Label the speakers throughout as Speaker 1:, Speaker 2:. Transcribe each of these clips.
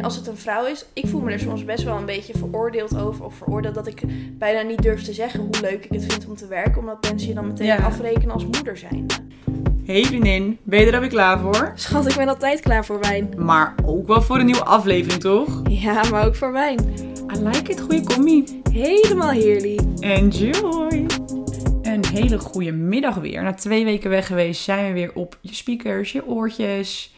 Speaker 1: Als het een vrouw is, ik voel me er soms best wel een beetje veroordeeld over. Of veroordeeld dat ik bijna niet durf te zeggen hoe leuk ik het vind om te werken. Omdat mensen je dan meteen
Speaker 2: Ja.
Speaker 1: afrekenen als moeder zijn.
Speaker 2: Hey vriendin, ben je er alweer klaar voor?
Speaker 1: Schat, ik ben altijd klaar voor wijn.
Speaker 2: Maar ook wel voor een nieuwe aflevering, toch?
Speaker 1: Ja, maar ook voor wijn.
Speaker 2: I like it, goede commie.
Speaker 1: Helemaal heerlijk.
Speaker 2: Enjoy! Een hele goede middag weer. Na twee weken weg geweest zijn we weer op je speakers, je oortjes.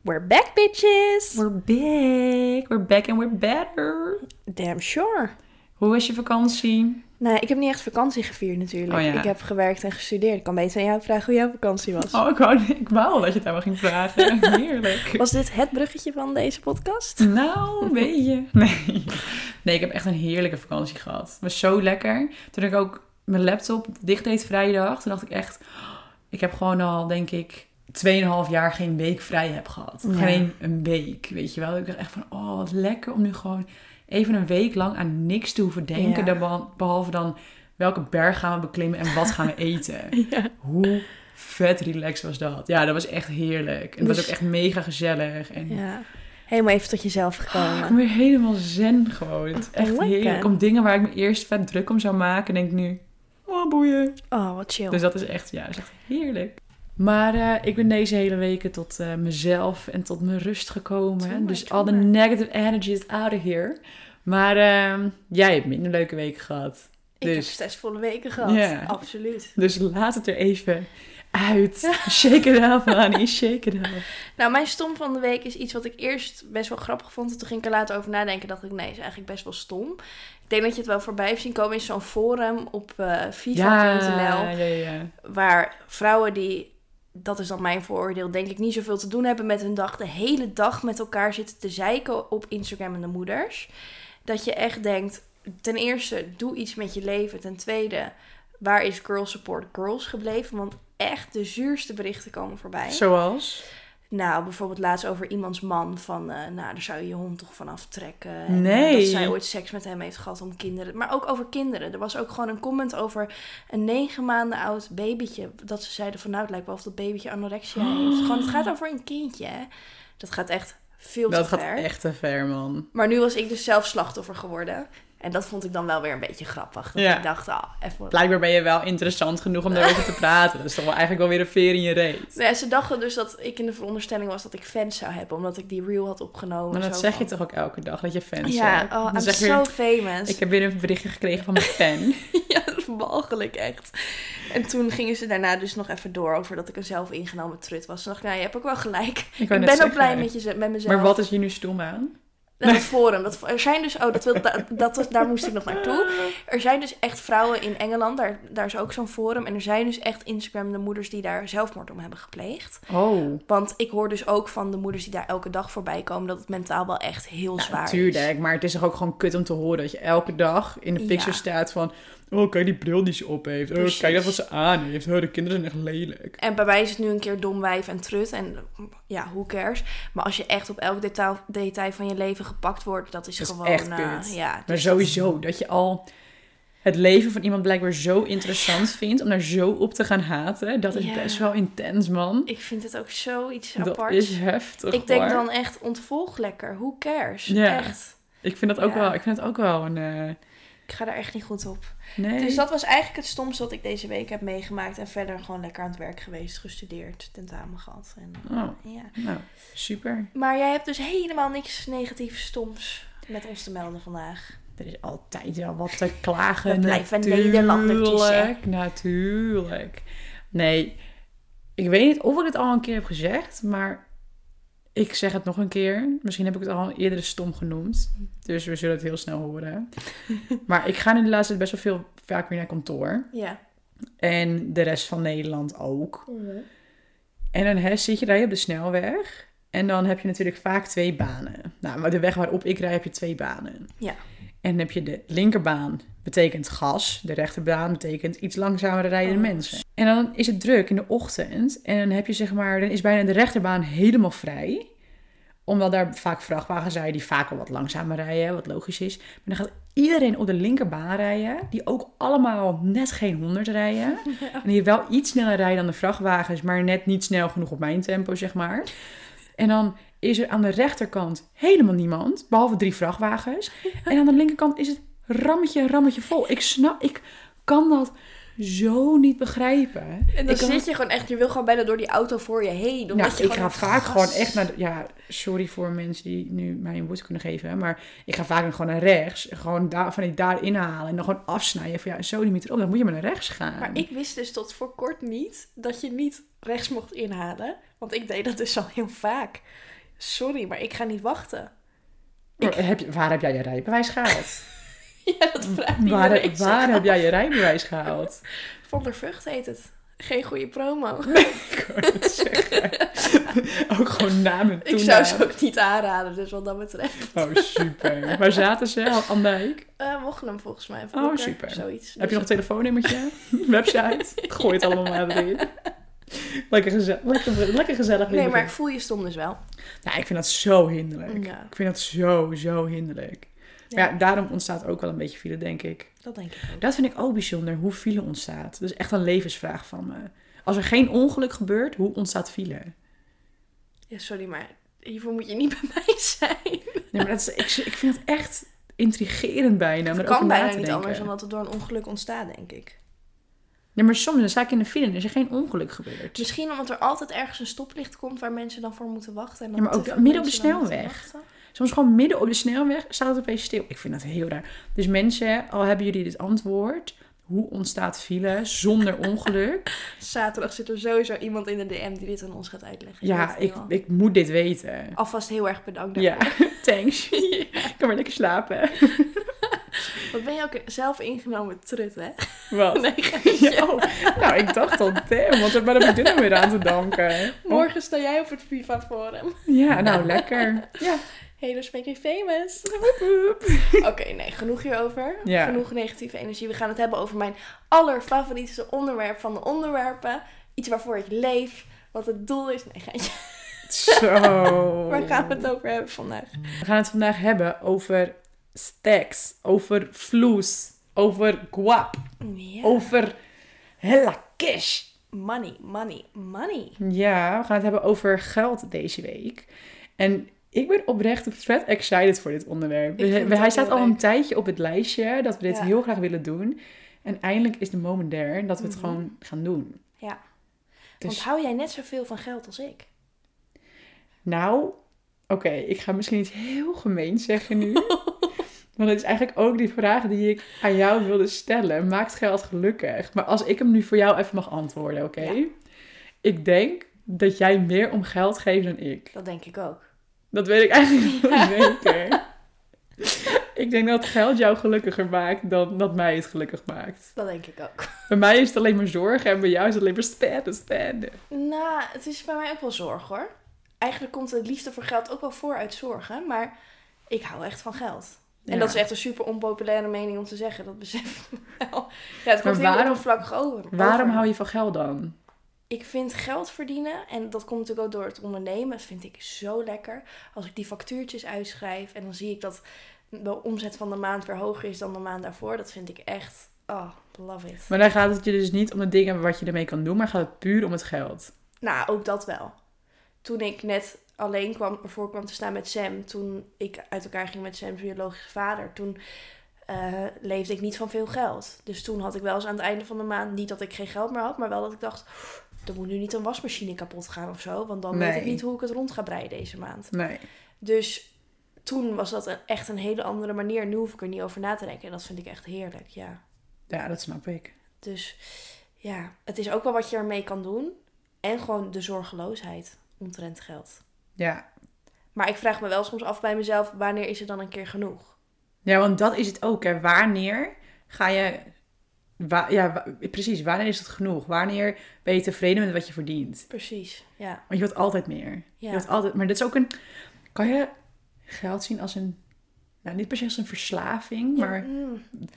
Speaker 1: We're back, bitches.
Speaker 2: We're back, we're back and we're better.
Speaker 1: Damn sure.
Speaker 2: Hoe was je vakantie?
Speaker 1: Nou, ik heb niet echt vakantie gevierd natuurlijk.
Speaker 2: Oh ja.
Speaker 1: Ik heb gewerkt en gestudeerd. Ik kan beter aan jou vragen hoe jouw vakantie was.
Speaker 2: Oh, ik wou, ik wou dat je het aan me ging vragen. Heerlijk.
Speaker 1: Was dit het bruggetje van deze podcast?
Speaker 2: Nou, een beetje. Nee. nee, ik heb echt een heerlijke vakantie gehad. Het was zo lekker. Toen ik ook mijn laptop dicht deed vrijdag, toen dacht ik echt... Ik heb gewoon al, denk ik, 2,5 jaar geen week vrij heb gehad.
Speaker 1: Ja.
Speaker 2: Geen een week, weet je wel. Ik dacht echt van, oh, wat lekker om nu gewoon even een week lang aan niks te hoeven denken.
Speaker 1: Ja.
Speaker 2: dan- Behalve dan, welke berg gaan we beklimmen en wat gaan we eten? Hoe vet relaxed was dat? Ja, dat was echt heerlijk. En het was
Speaker 1: Dus-
Speaker 2: ook echt mega gezellig. En
Speaker 1: Ja. Helemaal even tot jezelf
Speaker 2: Oh, ik
Speaker 1: gekomen.
Speaker 2: ben weer helemaal zen gewoon. Het is echt
Speaker 1: Lekker.
Speaker 2: heerlijk. Om dingen waar ik me eerst vet druk om zou maken, denk ik nu, oh boeien.
Speaker 1: Oh, wat chill.
Speaker 2: Dus dat is echt, ja, dat is echt heerlijk. Maar eh, ik ben deze hele weken tot eh, mezelf en tot mijn rust gekomen.
Speaker 1: Doe maar,
Speaker 2: dus
Speaker 1: doe
Speaker 2: al de
Speaker 1: maar.
Speaker 2: negative energy is out of here. Maar eh, jij hebt minder leuke weken gehad.
Speaker 1: ik heb
Speaker 2: dus-
Speaker 1: stressvolle weken gehad.
Speaker 2: Ja.
Speaker 1: Absoluut.
Speaker 2: Dus laat het er even uit. Shake it up, honey. Shake it up.
Speaker 1: Nou, mijn stom van de week is iets wat ik eerst best wel grappig vond. En toen ging ik er later over nadenken. Dacht ik, nee, is eigenlijk best wel stom. Ik denk dat je het wel voorbij hebt zien komen in zo'n forum op eh
Speaker 2: Ja,
Speaker 1: FIFA.nl.
Speaker 2: ja, ja.
Speaker 1: waar vrouwen die, dat is dan mijn vooroordeel, denk ik niet zoveel te doen hebben met hun dag, de hele dag met elkaar zitten te zeiken op Instagram en de moeders. Dat je echt denkt, ten eerste, doe iets met je leven. Ten tweede, waar is Girl Support Girls gebleven? Want echt de zuurste berichten komen voorbij.
Speaker 2: Zoals?
Speaker 1: Nou, bijvoorbeeld laatst over iemands man van, eh, nou, daar zou je je hond toch van aftrekken. En, eh,
Speaker 2: Nee.
Speaker 1: Dat zij ooit seks met hem heeft gehad om kinderen. Maar ook over kinderen. Er was ook gewoon een comment over een negen maanden oud babytje. Dat ze zeiden van, nou, het lijkt wel of dat babytje anorexia heeft. Gewoon, het gaat over een kindje. hè. Dat gaat echt veel
Speaker 2: Dat
Speaker 1: te
Speaker 2: gaat
Speaker 1: ver.
Speaker 2: echt te ver, man.
Speaker 1: Maar nu was ik dus zelf slachtoffer geworden. En dat vond ik dan wel weer een beetje grappig. Dat
Speaker 2: Ja.
Speaker 1: ik dacht, ah, even...
Speaker 2: Blijkbaar ben je wel interessant genoeg om daarover te praten. Dat is toch wel eigenlijk wel weer een veer in je reet.
Speaker 1: Nee, ze dachten dus dat ik in de veronderstelling was dat ik fans zou hebben. Omdat ik die reel had opgenomen.
Speaker 2: Maar dat
Speaker 1: Zo
Speaker 2: zeg je
Speaker 1: van-
Speaker 2: toch ook elke dag, dat je fans
Speaker 1: Ja,
Speaker 2: hebt?
Speaker 1: oh,
Speaker 2: Dan
Speaker 1: I'm
Speaker 2: zeg je
Speaker 1: so
Speaker 2: weer,
Speaker 1: famous.
Speaker 2: Ik heb weer een berichtje gekregen van mijn fan.
Speaker 1: Ja, dat is walgelijk echt. En toen gingen ze daarna dus nog even door over dat ik een zelf ingenomen trut was. Toen dacht ik, nou, je hebt ook wel gelijk. Ik,
Speaker 2: Ik, wou
Speaker 1: ben
Speaker 2: net
Speaker 1: ook
Speaker 2: zeggen.
Speaker 1: blij met, je, met mezelf.
Speaker 2: Maar wat is je nu stom aan?
Speaker 1: Nou, dat forum. Dat, er zijn dus, oh, dat wil, dat, dat was- daar moest ik nog naartoe. Er zijn dus echt vrouwen in Engeland, daar, daar is ook zo'n forum. En er zijn dus echt Instagram de moeders die daar zelfmoord om hebben gepleegd.
Speaker 2: Oh,
Speaker 1: Want ik hoor dus ook van de moeders die daar elke dag voorbij komen, dat het mentaal wel echt heel
Speaker 2: Nou,
Speaker 1: zwaar is.
Speaker 2: natuurlijk. Maar het is toch ook gewoon kut om te horen dat je elke dag in de
Speaker 1: Ja.
Speaker 2: picture staat van... Oh, kijk die bril die ze op heeft. Oh,
Speaker 1: Precies.
Speaker 2: kijk dat wat ze aan heeft. Oh, de kinderen zijn echt lelijk.
Speaker 1: En bij mij is het nu een keer dom wijf en trut. En ja, hoe cares. Maar als je echt op elk detail, detail van je leven gepakt wordt, dat is
Speaker 2: Dat is
Speaker 1: gewoon.
Speaker 2: echt
Speaker 1: eh,
Speaker 2: kut.
Speaker 1: ja,
Speaker 2: Maar
Speaker 1: dus
Speaker 2: sowieso, dat je al het leven van iemand blijkbaar zo interessant vindt... om daar zo op te gaan haten, dat is
Speaker 1: Ja.
Speaker 2: best wel intens, man.
Speaker 1: ik vind het ook zoiets
Speaker 2: Dat
Speaker 1: apart.
Speaker 2: is heftig.
Speaker 1: ik denk
Speaker 2: hoor.
Speaker 1: dan echt ontvolg lekker. Hoe cares?
Speaker 2: Ja.
Speaker 1: Echt.
Speaker 2: Ik vind dat ook
Speaker 1: Ja.
Speaker 2: wel. Ik vind het ook wel een. eh,
Speaker 1: Ik ga daar echt niet goed op.
Speaker 2: nee.
Speaker 1: Dus dat was eigenlijk het stomste wat ik deze week heb meegemaakt. En verder gewoon lekker aan het werk geweest, gestudeerd, tentamen gehad. En,
Speaker 2: Oh,
Speaker 1: ja.
Speaker 2: nou, super.
Speaker 1: Maar jij hebt dus helemaal niks negatiefs stoms met ons te melden vandaag.
Speaker 2: Er is altijd wel wat te klagen.
Speaker 1: We blijven
Speaker 2: natuurlijk.
Speaker 1: Nederlandertjes, hè?
Speaker 2: Natuurlijk. Nee, ik weet niet of ik het al een keer heb gezegd, maar ik zeg het nog een keer. Misschien heb ik het al eerder stom genoemd. Dus we zullen het heel snel horen. maar ik ga nu de laatste tijd best wel veel vaak weer naar kantoor.
Speaker 1: Ja.
Speaker 2: En de rest van Nederland ook. En dan hè, zit je daar op de snelweg. En dan heb je natuurlijk vaak twee banen. Nou, maar de weg waarop ik rij heb je twee banen.
Speaker 1: Ja.
Speaker 2: En dan heb je de linkerbaan, betekent gas. De rechterbaan betekent iets langzamer rijden
Speaker 1: Oh.
Speaker 2: mensen. En dan is het druk in de ochtend. En dan heb je zeg maar, dan is bijna de rechterbaan helemaal vrij. Omdat daar vaak vrachtwagens rijden die vaak al wat langzamer rijden, wat logisch is. Maar dan gaat iedereen op de linkerbaan rijden. Die ook allemaal net geen 100 rijden. En die wel iets sneller rijden dan de vrachtwagens, maar net niet snel genoeg op mijn tempo, zeg maar. En dan is er aan de rechterkant helemaal niemand, behalve drie vrachtwagens. En aan de linkerkant is het rammetje, rammetje vol. Ik snap, ik kan dat zo niet begrijpen.
Speaker 1: En dan
Speaker 2: ik kan
Speaker 1: zit je gewoon echt, je wil gewoon bijna door die auto voor je heen. Omdat
Speaker 2: nou,
Speaker 1: je
Speaker 2: ik
Speaker 1: gewoon
Speaker 2: ga
Speaker 1: denkt,
Speaker 2: vaak
Speaker 1: "Gast."
Speaker 2: gewoon echt naar... de- ja, sorry voor mensen die nu mij een boete kunnen geven. Maar ik ga vaak dan gewoon naar rechts. Gewoon daar, van die daar inhalen. En dan gewoon afsnijden. Van ja, zo die meter op. Dan moet je maar naar rechts gaan.
Speaker 1: Maar ik wist dus tot voor kort niet dat je niet rechts mocht inhalen. Want ik deed dat dus al heel vaak. Sorry, maar ik ga niet wachten.
Speaker 2: Maar heb je- waar heb jij je rijbewijs gehaald?
Speaker 1: Ja, dat vraagt niet
Speaker 2: waar waar heb jij je rijbewijs gehaald?
Speaker 1: Van der Vught heet het. Geen goede promo.
Speaker 2: Ik wou het zeggen. Ook gewoon naam en
Speaker 1: ik zou
Speaker 2: toenaam.
Speaker 1: ze ook niet aanraden, dus wat dat betreft.
Speaker 2: Oh, super. Waar zaten ze? Aan Dijk?
Speaker 1: Eh mochten hem volgens mij. even
Speaker 2: Oh,
Speaker 1: lekker,
Speaker 2: super.
Speaker 1: Zoiets.
Speaker 2: Heb je nog
Speaker 1: Dus
Speaker 2: een telefoonnummertje? Website? Gooi het allemaal maar erin. Lekker, geze- lekker, lekker gezellig.
Speaker 1: het- Nee, maar ik voel je stom dus wel.
Speaker 2: Nou, ik vind dat zo hinderlijk.
Speaker 1: Ja,
Speaker 2: Ik vind dat zo, zo hinderlijk. Maar ja, daarom ontstaat ook wel een beetje file, denk ik.
Speaker 1: dat denk ik ook.
Speaker 2: Dat vind ik ook bijzonder, hoe file ontstaat. Dat is echt een levensvraag van me. Als er geen ongeluk gebeurt, hoe ontstaat file?
Speaker 1: Ja, sorry, maar hiervoor moet je niet bij mij zijn.
Speaker 2: Nee, maar dat is, ik, ik vind het echt intrigerend bijna. om
Speaker 1: Het
Speaker 2: erover
Speaker 1: kan
Speaker 2: na
Speaker 1: bijna
Speaker 2: te
Speaker 1: niet
Speaker 2: denken.
Speaker 1: anders dan dat het door een ongeluk ontstaat, denk ik.
Speaker 2: Ja, maar soms dan sta ik in de file en is er geen ongeluk gebeurd.
Speaker 1: Misschien omdat er altijd ergens een stoplicht komt waar mensen dan voor moeten wachten. En
Speaker 2: Ja, maar
Speaker 1: te
Speaker 2: ook
Speaker 1: veel
Speaker 2: midden op de
Speaker 1: mensen dan moeten
Speaker 2: snelweg.
Speaker 1: wachten.
Speaker 2: Soms gewoon midden op de snelweg staat het opeens stil. Ik vind dat heel raar. Dus mensen, al hebben jullie dit antwoord. Hoe ontstaat file zonder ongeluk?
Speaker 1: Zaterdag zit er sowieso iemand in de DM die dit aan ons gaat uitleggen. weet
Speaker 2: Ja,
Speaker 1: het
Speaker 2: ik,
Speaker 1: nu al.
Speaker 2: ik moet dit weten.
Speaker 1: Alvast heel erg bedankt
Speaker 2: Ja,
Speaker 1: daarvoor.
Speaker 2: thanks. Ik kan maar lekker slapen.
Speaker 1: Wat ben je ook een zelf ingenomen trut, hè?
Speaker 2: Wat?
Speaker 1: Nee, geintje.
Speaker 2: Ja, oh, nou, ik dacht al, damn, wat heb- waar heb ik dit nou weer aan te danken?
Speaker 1: Morgen sta jij op het FIFA-forum.
Speaker 2: Ja, nou, lekker. Ja,
Speaker 1: Haters make me famous.
Speaker 2: woep, woep.
Speaker 1: Oké, nee, genoeg hierover.
Speaker 2: Ja.
Speaker 1: Genoeg negatieve energie. We gaan het hebben over mijn allerfavorietste onderwerp van de onderwerpen. Iets waarvoor ik leef. Wat het doel is. Nee, geintje.
Speaker 2: Zo.
Speaker 1: Waar gaan we het over hebben vandaag?
Speaker 2: We gaan het vandaag hebben over stacks, over vloes, over guap,
Speaker 1: Ja.
Speaker 2: Oh. over hella cash.
Speaker 1: Money, money, money.
Speaker 2: Ja, we gaan het hebben over geld deze week. En ik ben oprecht vet excited voor dit onderwerp.
Speaker 1: Ik vind het
Speaker 2: We- Hij
Speaker 1: ook
Speaker 2: staat
Speaker 1: heel
Speaker 2: al een
Speaker 1: leuk.
Speaker 2: tijdje op het lijstje dat we dit
Speaker 1: Ja.
Speaker 2: heel graag willen doen. En eindelijk is de moment there dat we het
Speaker 1: Mhm.
Speaker 2: gewoon gaan doen.
Speaker 1: Ja.
Speaker 2: Dus,
Speaker 1: Want hou jij net zoveel van geld als ik?
Speaker 2: nou, oké, ik ga misschien iets heel gemeens zeggen nu. Want het is eigenlijk ook die vraag die ik aan jou wilde stellen. Maakt geld gelukkig? Maar als ik hem nu voor jou even mag antwoorden, oké?
Speaker 1: Ja.
Speaker 2: Ik denk dat jij meer om geld geeft dan ik.
Speaker 1: Dat denk ik ook.
Speaker 2: Dat weet ik eigenlijk niet zeker. ik denk dat geld jou gelukkiger maakt dan dat mij het gelukkig maakt.
Speaker 1: Dat denk ik ook.
Speaker 2: Bij mij is het alleen maar zorgen en bij jou is het alleen maar standen, standen.
Speaker 1: Nou, het is bij mij ook wel zorg hoor. Eigenlijk komt het liefde voor geld ook wel voor uit zorgen, maar ik hou echt van geld.
Speaker 2: Ja.
Speaker 1: En dat is echt een super onpopulaire mening om te zeggen, dat besef ik wel. Ja, het komt
Speaker 2: waarom-
Speaker 1: heel oppervlakkig over.
Speaker 2: Waarom
Speaker 1: over.
Speaker 2: hou je van geld dan?
Speaker 1: Ik vind geld verdienen, en dat komt natuurlijk ook door het ondernemen, dat vind ik zo lekker. Als ik die factuurtjes uitschrijf en dan zie ik dat de omzet van de maand weer hoger is dan de maand daarvoor, dat vind ik echt, oh, love it.
Speaker 2: Maar dan gaat het je dus niet om de dingen wat je ermee kan doen, maar gaat het puur om het geld.
Speaker 1: Nou, ook dat wel. Toen ik net alleen kwam, ervoor kwam te staan met Sam, toen ik uit elkaar ging met Sam's biologische vader, toen eh, leefde ik niet van veel geld. Dus toen had ik wel eens aan het einde van de maand, niet dat ik geen geld meer had, maar wel dat ik dacht, er moet nu niet een wasmachine kapot gaan of zo, want dan weet ik
Speaker 2: Nee.
Speaker 1: niet hoe ik het rond ga breien deze maand.
Speaker 2: Nee.
Speaker 1: Dus toen was dat een- echt een hele andere manier. Nu hoef ik er niet over na te denken en dat vind ik echt heerlijk, ja.
Speaker 2: Ja, dat snap ik.
Speaker 1: Dus ja, het is ook wel wat je ermee kan doen. En gewoon de zorgeloosheid omtrent geld.
Speaker 2: Ja.
Speaker 1: Maar ik vraag me wel soms af bij mezelf, wanneer is er dan een keer genoeg?
Speaker 2: Ja, want dat is het ook, hè. Wanneer ga je... wa- ja, wa- precies. Wanneer is het genoeg? Wanneer ben je tevreden met wat je verdient?
Speaker 1: Precies, ja.
Speaker 2: Want je wilt altijd meer.
Speaker 1: Ja.
Speaker 2: Je wilt altijd, maar dat is ook een. Kan je geld zien als een. Nou, niet per se als een verslaving, maar. Het
Speaker 1: Mm.
Speaker 2: is,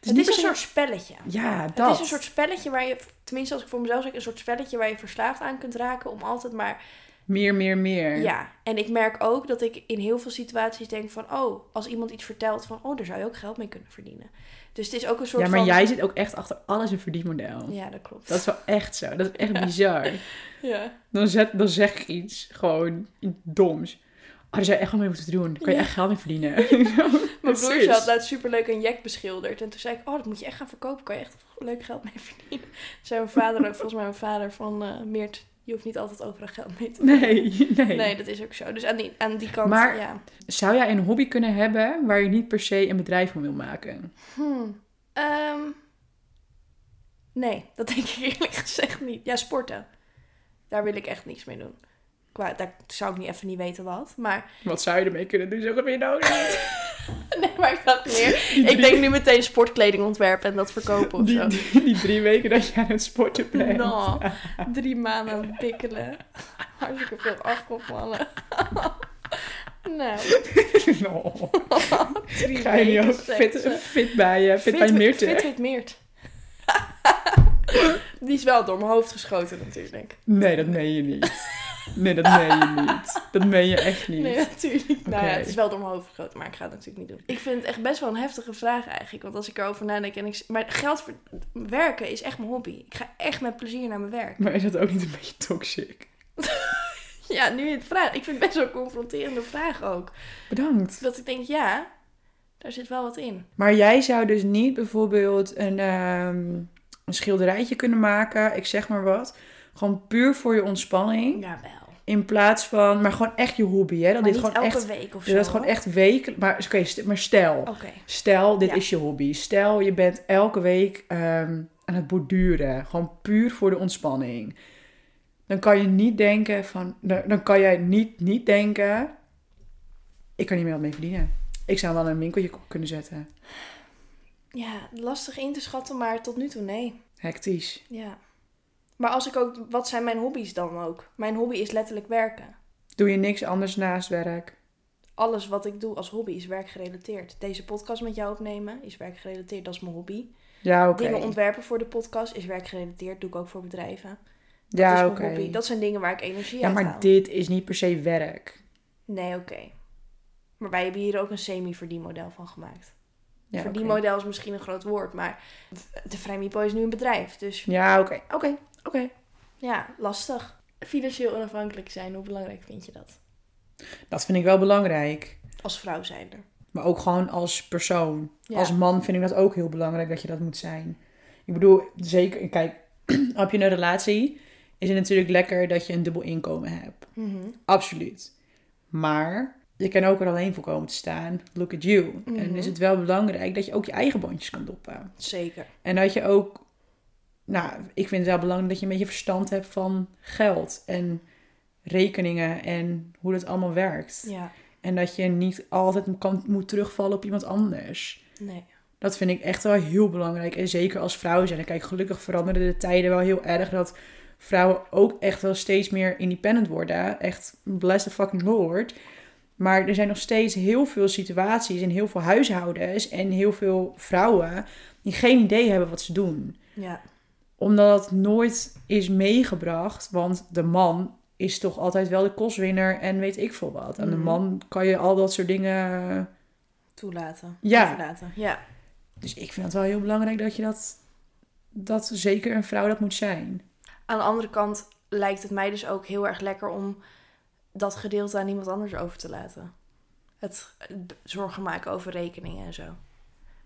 Speaker 1: Het is
Speaker 2: niet per
Speaker 1: een
Speaker 2: se-
Speaker 1: soort spelletje.
Speaker 2: Ja, dat.
Speaker 1: Het is een soort spelletje waar je, tenminste als ik voor mezelf zeg, een soort spelletje waar je verslaafd aan kunt raken om altijd maar...
Speaker 2: Meer, meer, meer.
Speaker 1: Ja, en ik merk ook dat ik in heel veel situaties denk van, oh, als iemand iets vertelt van, oh, daar zou je ook geld mee kunnen verdienen. Dus het is ook een soort
Speaker 2: Ja, maar
Speaker 1: van...
Speaker 2: jij zit ook echt achter alles een verdienmodel.
Speaker 1: Ja, dat klopt.
Speaker 2: Dat is wel echt zo. Dat is echt bizar.
Speaker 1: Ja.
Speaker 2: Dan, zet, dan zeg ik iets gewoon iets doms. Oh, daar zou je echt wel mee moeten doen. Daar kan je
Speaker 1: Ja.
Speaker 2: echt geld mee verdienen.
Speaker 1: Mijn
Speaker 2: Precies.
Speaker 1: broertje had laatst superleuk een jack beschilderd. En toen zei ik, oh, dat moet je echt gaan verkopen. Kan je echt leuk geld mee verdienen. Toen zei mijn vader, ook, volgens mij mijn vader, van eh, Meert, je hoeft niet altijd overal geld mee te
Speaker 2: Nee, nee.
Speaker 1: Nee, dat is ook zo. Dus aan die, aan die kant,
Speaker 2: Maar-
Speaker 1: ja.
Speaker 2: Zou jij een hobby kunnen hebben waar je niet per se een bedrijf van wil maken?
Speaker 1: Hmm. Ehm, nee, dat denk ik eerlijk gezegd niet. Ja, sporten. Daar wil ik echt niks mee doen. Qua, daar zou ik niet even niet weten wat. Maar,
Speaker 2: Wat zou je ermee kunnen doen? Zo heb je nou
Speaker 1: nee, maar ik dacht meer.
Speaker 2: Die
Speaker 1: Ik
Speaker 2: drie-
Speaker 1: denk nu meteen sportkleding ontwerpen en dat verkopen of
Speaker 2: die,
Speaker 1: zo.
Speaker 2: die, die drie weken dat je aan het sporten bent.
Speaker 1: Nou, drie maanden aan het pikkelen. Hartstikke veel afgevallen. nou,
Speaker 2: Nou,
Speaker 1: drie
Speaker 2: ga je
Speaker 1: weken
Speaker 2: nu ook
Speaker 1: seksen.
Speaker 2: fit, fit bij je, fit, bij
Speaker 1: Meert.
Speaker 2: Meerte.
Speaker 1: Fit met Meert. Die is wel door mijn hoofd geschoten natuurlijk.
Speaker 2: Nee, dat meen je niet. Nee, dat meen je niet. Dat meen je echt niet.
Speaker 1: Nee, natuurlijk. Nou ja,
Speaker 2: Oké.
Speaker 1: het is wel door mijn hoofd geschoten, maar ik ga het natuurlijk niet doen. Ik vind het echt best wel een heftige vraag eigenlijk. Want als ik erover nadenk en ik... Maar geld voor werken is echt mijn hobby. Ik ga echt met plezier naar mijn werk.
Speaker 2: Maar is dat ook niet een beetje toxic?
Speaker 1: Ja, nu je het vraagt. Ik vind het best wel een confronterende vraag ook.
Speaker 2: Bedankt.
Speaker 1: Dat ik denk, ja, daar zit wel wat in.
Speaker 2: Maar jij zou dus niet bijvoorbeeld een, ehm, een schilderijtje kunnen maken, ik zeg maar wat. Gewoon puur voor je ontspanning.
Speaker 1: Jawel.
Speaker 2: In plaats van, maar gewoon echt je hobby, hè? Dat
Speaker 1: Maar
Speaker 2: dit
Speaker 1: niet
Speaker 2: gewoon
Speaker 1: elke
Speaker 2: echt,
Speaker 1: week of zo.
Speaker 2: dat dit gewoon echt weken. Maar, oké, st- maar stel,
Speaker 1: Oké.
Speaker 2: stel dit
Speaker 1: Ja.
Speaker 2: is je hobby. Stel je bent elke week ehm, aan het borduren, gewoon puur voor de ontspanning. Dan kan je niet denken van, dan, dan kan jij niet niet denken, ik kan niet meer wat mee verdienen. Ik zou wel een winkeltje k- kunnen zetten.
Speaker 1: Ja, lastig in te schatten, maar tot nu toe nee.
Speaker 2: Hectisch.
Speaker 1: Ja. Maar als ik ook... Wat zijn mijn hobby's dan ook? Mijn hobby is letterlijk werken.
Speaker 2: Doe je niks anders naast werk?
Speaker 1: Alles wat ik doe als hobby is werkgerelateerd. Deze podcast met jou opnemen is werkgerelateerd. Dat is mijn hobby.
Speaker 2: Ja, oké.
Speaker 1: Dingen ontwerpen voor de podcast is werkgerelateerd. Doe ik ook voor bedrijven. Dat is
Speaker 2: Ja,
Speaker 1: mijn
Speaker 2: oké.
Speaker 1: hobby. Dat zijn dingen waar ik energie
Speaker 2: Ja,
Speaker 1: uit
Speaker 2: maar
Speaker 1: haal.
Speaker 2: dit is niet per se werk.
Speaker 1: Nee, oké. Maar wij hebben hier ook een semi-verdienmodel van gemaakt.
Speaker 2: Ja, oké.
Speaker 1: Verdienmodel is misschien een groot woord, maar de Vrijmipo is nu een bedrijf. Dus
Speaker 2: Ja, oké. Oké, oké.
Speaker 1: ja, lastig. Financieel onafhankelijk zijn, hoe belangrijk vind je dat?
Speaker 2: Dat vind ik wel belangrijk.
Speaker 1: Als vrouw zijnde.
Speaker 2: Maar ook gewoon als persoon.
Speaker 1: Ja.
Speaker 2: Als man vind ik dat ook heel belangrijk dat je dat moet zijn. Ik bedoel, zeker, kijk, heb je een relatie, is het natuurlijk lekker dat je een dubbel inkomen hebt.
Speaker 1: Mhm.
Speaker 2: Absoluut. Maar je kan ook er alleen voor komen te staan. Look at you.
Speaker 1: Mhm.
Speaker 2: En is het wel belangrijk dat je ook je eigen bandjes kan doppen.
Speaker 1: Zeker.
Speaker 2: En dat je ook, nou, ik vind het wel belangrijk dat je een beetje verstand hebt van geld en rekeningen en hoe dat allemaal werkt.
Speaker 1: Ja,
Speaker 2: En dat je niet altijd kan, moet terugvallen op iemand anders.
Speaker 1: nee.
Speaker 2: Dat vind ik echt wel heel belangrijk. En zeker als vrouwen zijn. En kijk, gelukkig veranderen de tijden wel heel erg dat vrouwen ook echt wel steeds meer independent worden. Echt, bless the fucking lord. Maar er zijn nog steeds heel veel situaties en heel veel huishoudens en heel veel vrouwen die geen idee hebben wat ze doen.
Speaker 1: Ja,
Speaker 2: Omdat dat nooit is meegebracht, want de man is toch altijd wel de kostwinner en weet ik veel wat. Aan de
Speaker 1: Mhm.
Speaker 2: man kan je al dat soort dingen eh,
Speaker 1: toelaten.
Speaker 2: Ja.
Speaker 1: Toelaten. Ja.
Speaker 2: Dus ik vind het wel heel belangrijk dat je dat, dat zeker een vrouw dat moet zijn.
Speaker 1: Aan de andere kant lijkt het mij dus ook heel erg lekker om dat gedeelte aan iemand anders over te laten. Het het zorgen maken over rekeningen en zo.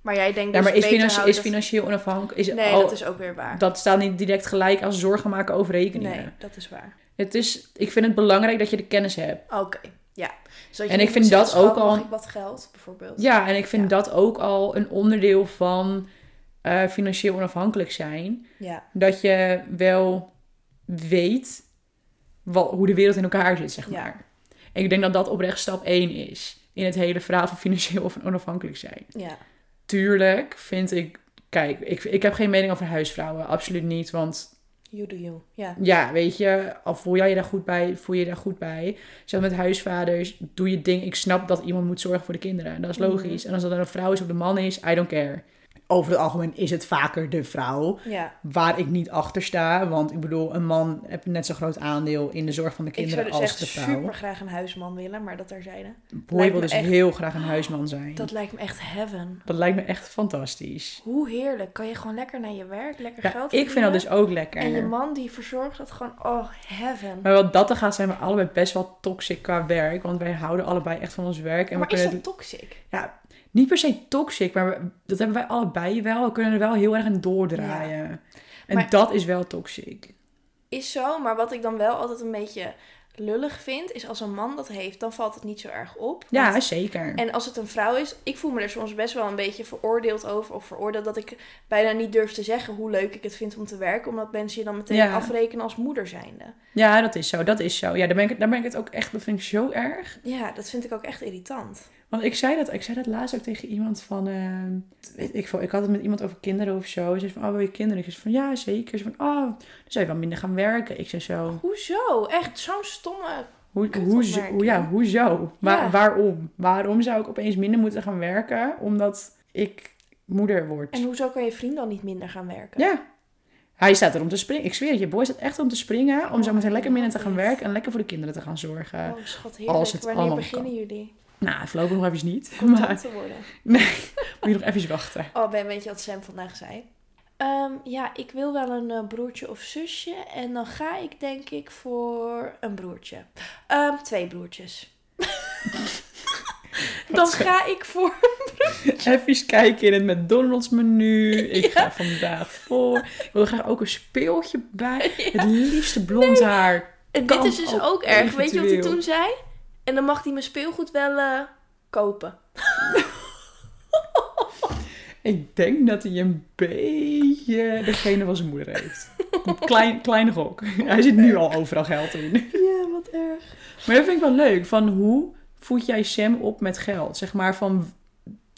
Speaker 1: Maar jij denkt
Speaker 2: ja,
Speaker 1: dus
Speaker 2: maar is,
Speaker 1: beter
Speaker 2: financi-
Speaker 1: houden
Speaker 2: is
Speaker 1: dat-
Speaker 2: financieel onafhankelijk. Is
Speaker 1: Nee,
Speaker 2: al-
Speaker 1: dat is ook weer waar.
Speaker 2: dat staat niet direct gelijk als zorgen maken over rekeningen.
Speaker 1: Nee, dat is waar.
Speaker 2: Het is, ik vind het belangrijk dat je de kennis hebt.
Speaker 1: Oké, ja. Dus Zodat
Speaker 2: En
Speaker 1: niet
Speaker 2: ik vind
Speaker 1: moet
Speaker 2: dat
Speaker 1: zeggen,
Speaker 2: ook
Speaker 1: schat,
Speaker 2: al-
Speaker 1: Mag ik wat geld, bijvoorbeeld?
Speaker 2: Ja, en ik vind
Speaker 1: Ja.
Speaker 2: dat ook al een onderdeel van eh, financieel onafhankelijk zijn.
Speaker 1: Ja,
Speaker 2: Dat je wel weet wat, hoe de wereld in elkaar zit, zeg
Speaker 1: Ja.
Speaker 2: maar. En ik denk dat dat oprecht stap 1 is in het hele verhaal van financieel onafhankelijk zijn.
Speaker 1: ja.
Speaker 2: Tuurlijk vind ik. Kijk, ik, ik heb geen mening over huisvrouwen. Absoluut niet. Want
Speaker 1: You do you. Ja.
Speaker 2: ja, weet je, al voel jij je daar goed bij, voel je je daar goed bij. Zelfs met huisvaders, doe Mhm. je ding. Ik snap dat iemand moet zorgen voor de kinderen. Dat is logisch. En als dat dan een vrouw is of de man is, I don't care. over het algemeen is het vaker de vrouw.
Speaker 1: Ja.
Speaker 2: Waar ik niet achter sta. Want ik bedoel, een man heeft net zo'n groot aandeel in de zorg van de
Speaker 1: Ik zou
Speaker 2: kinderen
Speaker 1: dus
Speaker 2: als
Speaker 1: echt
Speaker 2: de vrouw.
Speaker 1: super graag een huisman willen, maar dat terzijde.
Speaker 2: Boy
Speaker 1: lijkt
Speaker 2: wil
Speaker 1: me
Speaker 2: dus
Speaker 1: echt-
Speaker 2: heel graag een huisman zijn.
Speaker 1: Dat lijkt me echt heaven.
Speaker 2: Dat lijkt me echt fantastisch.
Speaker 1: Hoe heerlijk. Kan je gewoon lekker naar je werk, lekker
Speaker 2: Ja,
Speaker 1: geld
Speaker 2: ik vind dat
Speaker 1: verdienen.
Speaker 2: dus ook lekker.
Speaker 1: En je man die verzorgt dat gewoon, oh heaven.
Speaker 2: Maar wat dat er gaat zijn we allebei best wel toxic qua werk. Want wij houden allebei echt van ons werk. En
Speaker 1: maar
Speaker 2: we
Speaker 1: is
Speaker 2: kunnen
Speaker 1: dat toxic?
Speaker 2: het- ja, niet per se toxic, maar we- dat hebben wij allebei wel. We kunnen er wel heel erg in doordraaien. En
Speaker 1: Maar-
Speaker 2: dat is wel toxic.
Speaker 1: Is zo, maar wat ik dan wel altijd een beetje lullig vind, is als een man dat heeft, dan valt het niet zo erg op. Want-
Speaker 2: Ja, zeker.
Speaker 1: En als het een vrouw is, ik voel me er soms best wel een beetje veroordeeld over. Of veroordeeld dat ik bijna niet durf te zeggen hoe leuk ik het vind om te werken. Omdat mensen je dan meteen
Speaker 2: Ja.
Speaker 1: afrekenen als moeder zijnde.
Speaker 2: Ja, dat is zo. Dat is zo. Ja, daar ben, ik, daar ben ik het ook echt... Dat vind ik zo erg.
Speaker 1: Ja, dat vind ik ook echt irritant.
Speaker 2: Want ik zei dat, ik zei dat laatst ook tegen iemand van, eh, weet ik, veel, ik had het met iemand over kinderen of zo. Ze zei van, oh wil je kinderen? Ik zei van, ja zeker. Ze van, oh, dan zou je wel minder gaan werken. Ik zei
Speaker 1: Oh,
Speaker 2: zo,
Speaker 1: Hoezo? Echt zo'n stomme...
Speaker 2: hoe,
Speaker 1: Kut
Speaker 2: hoe,
Speaker 1: opmerking.
Speaker 2: hoe, ja, hoezo? Waar,
Speaker 1: Ja.
Speaker 2: Waarom? Waarom zou ik opeens minder moeten gaan werken? Omdat ik moeder word.
Speaker 1: En hoezo kan je vriend dan niet minder gaan werken?
Speaker 2: Ja. Hij staat er om te springen. Ik zweer het je, boy staat echt om te springen. Om zo meteen lekker minder te gaan werken en lekker voor de kinderen te gaan zorgen.
Speaker 1: Oh, schat, heerlijk.
Speaker 2: Als het
Speaker 1: Wanneer
Speaker 2: allemaal
Speaker 1: beginnen jullie?
Speaker 2: Nou, voorlopig nog even niet.
Speaker 1: Om tante
Speaker 2: Maar
Speaker 1: te worden.
Speaker 2: moet je nog even wachten.
Speaker 1: Oh, Ben, weet je wat Sam vandaag zei? Ehm, ja, ik wil wel een eh, broertje of zusje. En dan ga ik denk ik voor een broertje. Ehm, twee broertjes. dan
Speaker 2: Wat zo.
Speaker 1: ga ik voor...
Speaker 2: Even kijken in het McDonald's menu. Ik ga vandaag voor. Ik wil graag ook een speeltje bij. Het liefste blond haar.
Speaker 1: En dit
Speaker 2: Kan
Speaker 1: is dus
Speaker 2: ook
Speaker 1: ook erg. Weet je wat hij
Speaker 2: eventueel.
Speaker 1: toen zei? En dan mag hij mijn speelgoed wel eh, kopen.
Speaker 2: Ik denk dat hij een beetje degene van zijn moeder heeft. Een klein, klein gok. Hij zit nu al overal geld in.
Speaker 1: Ja, wat erg.
Speaker 2: Maar dat vind ik wel leuk. Van hoe voed jij Sam op met geld? Zeg maar van,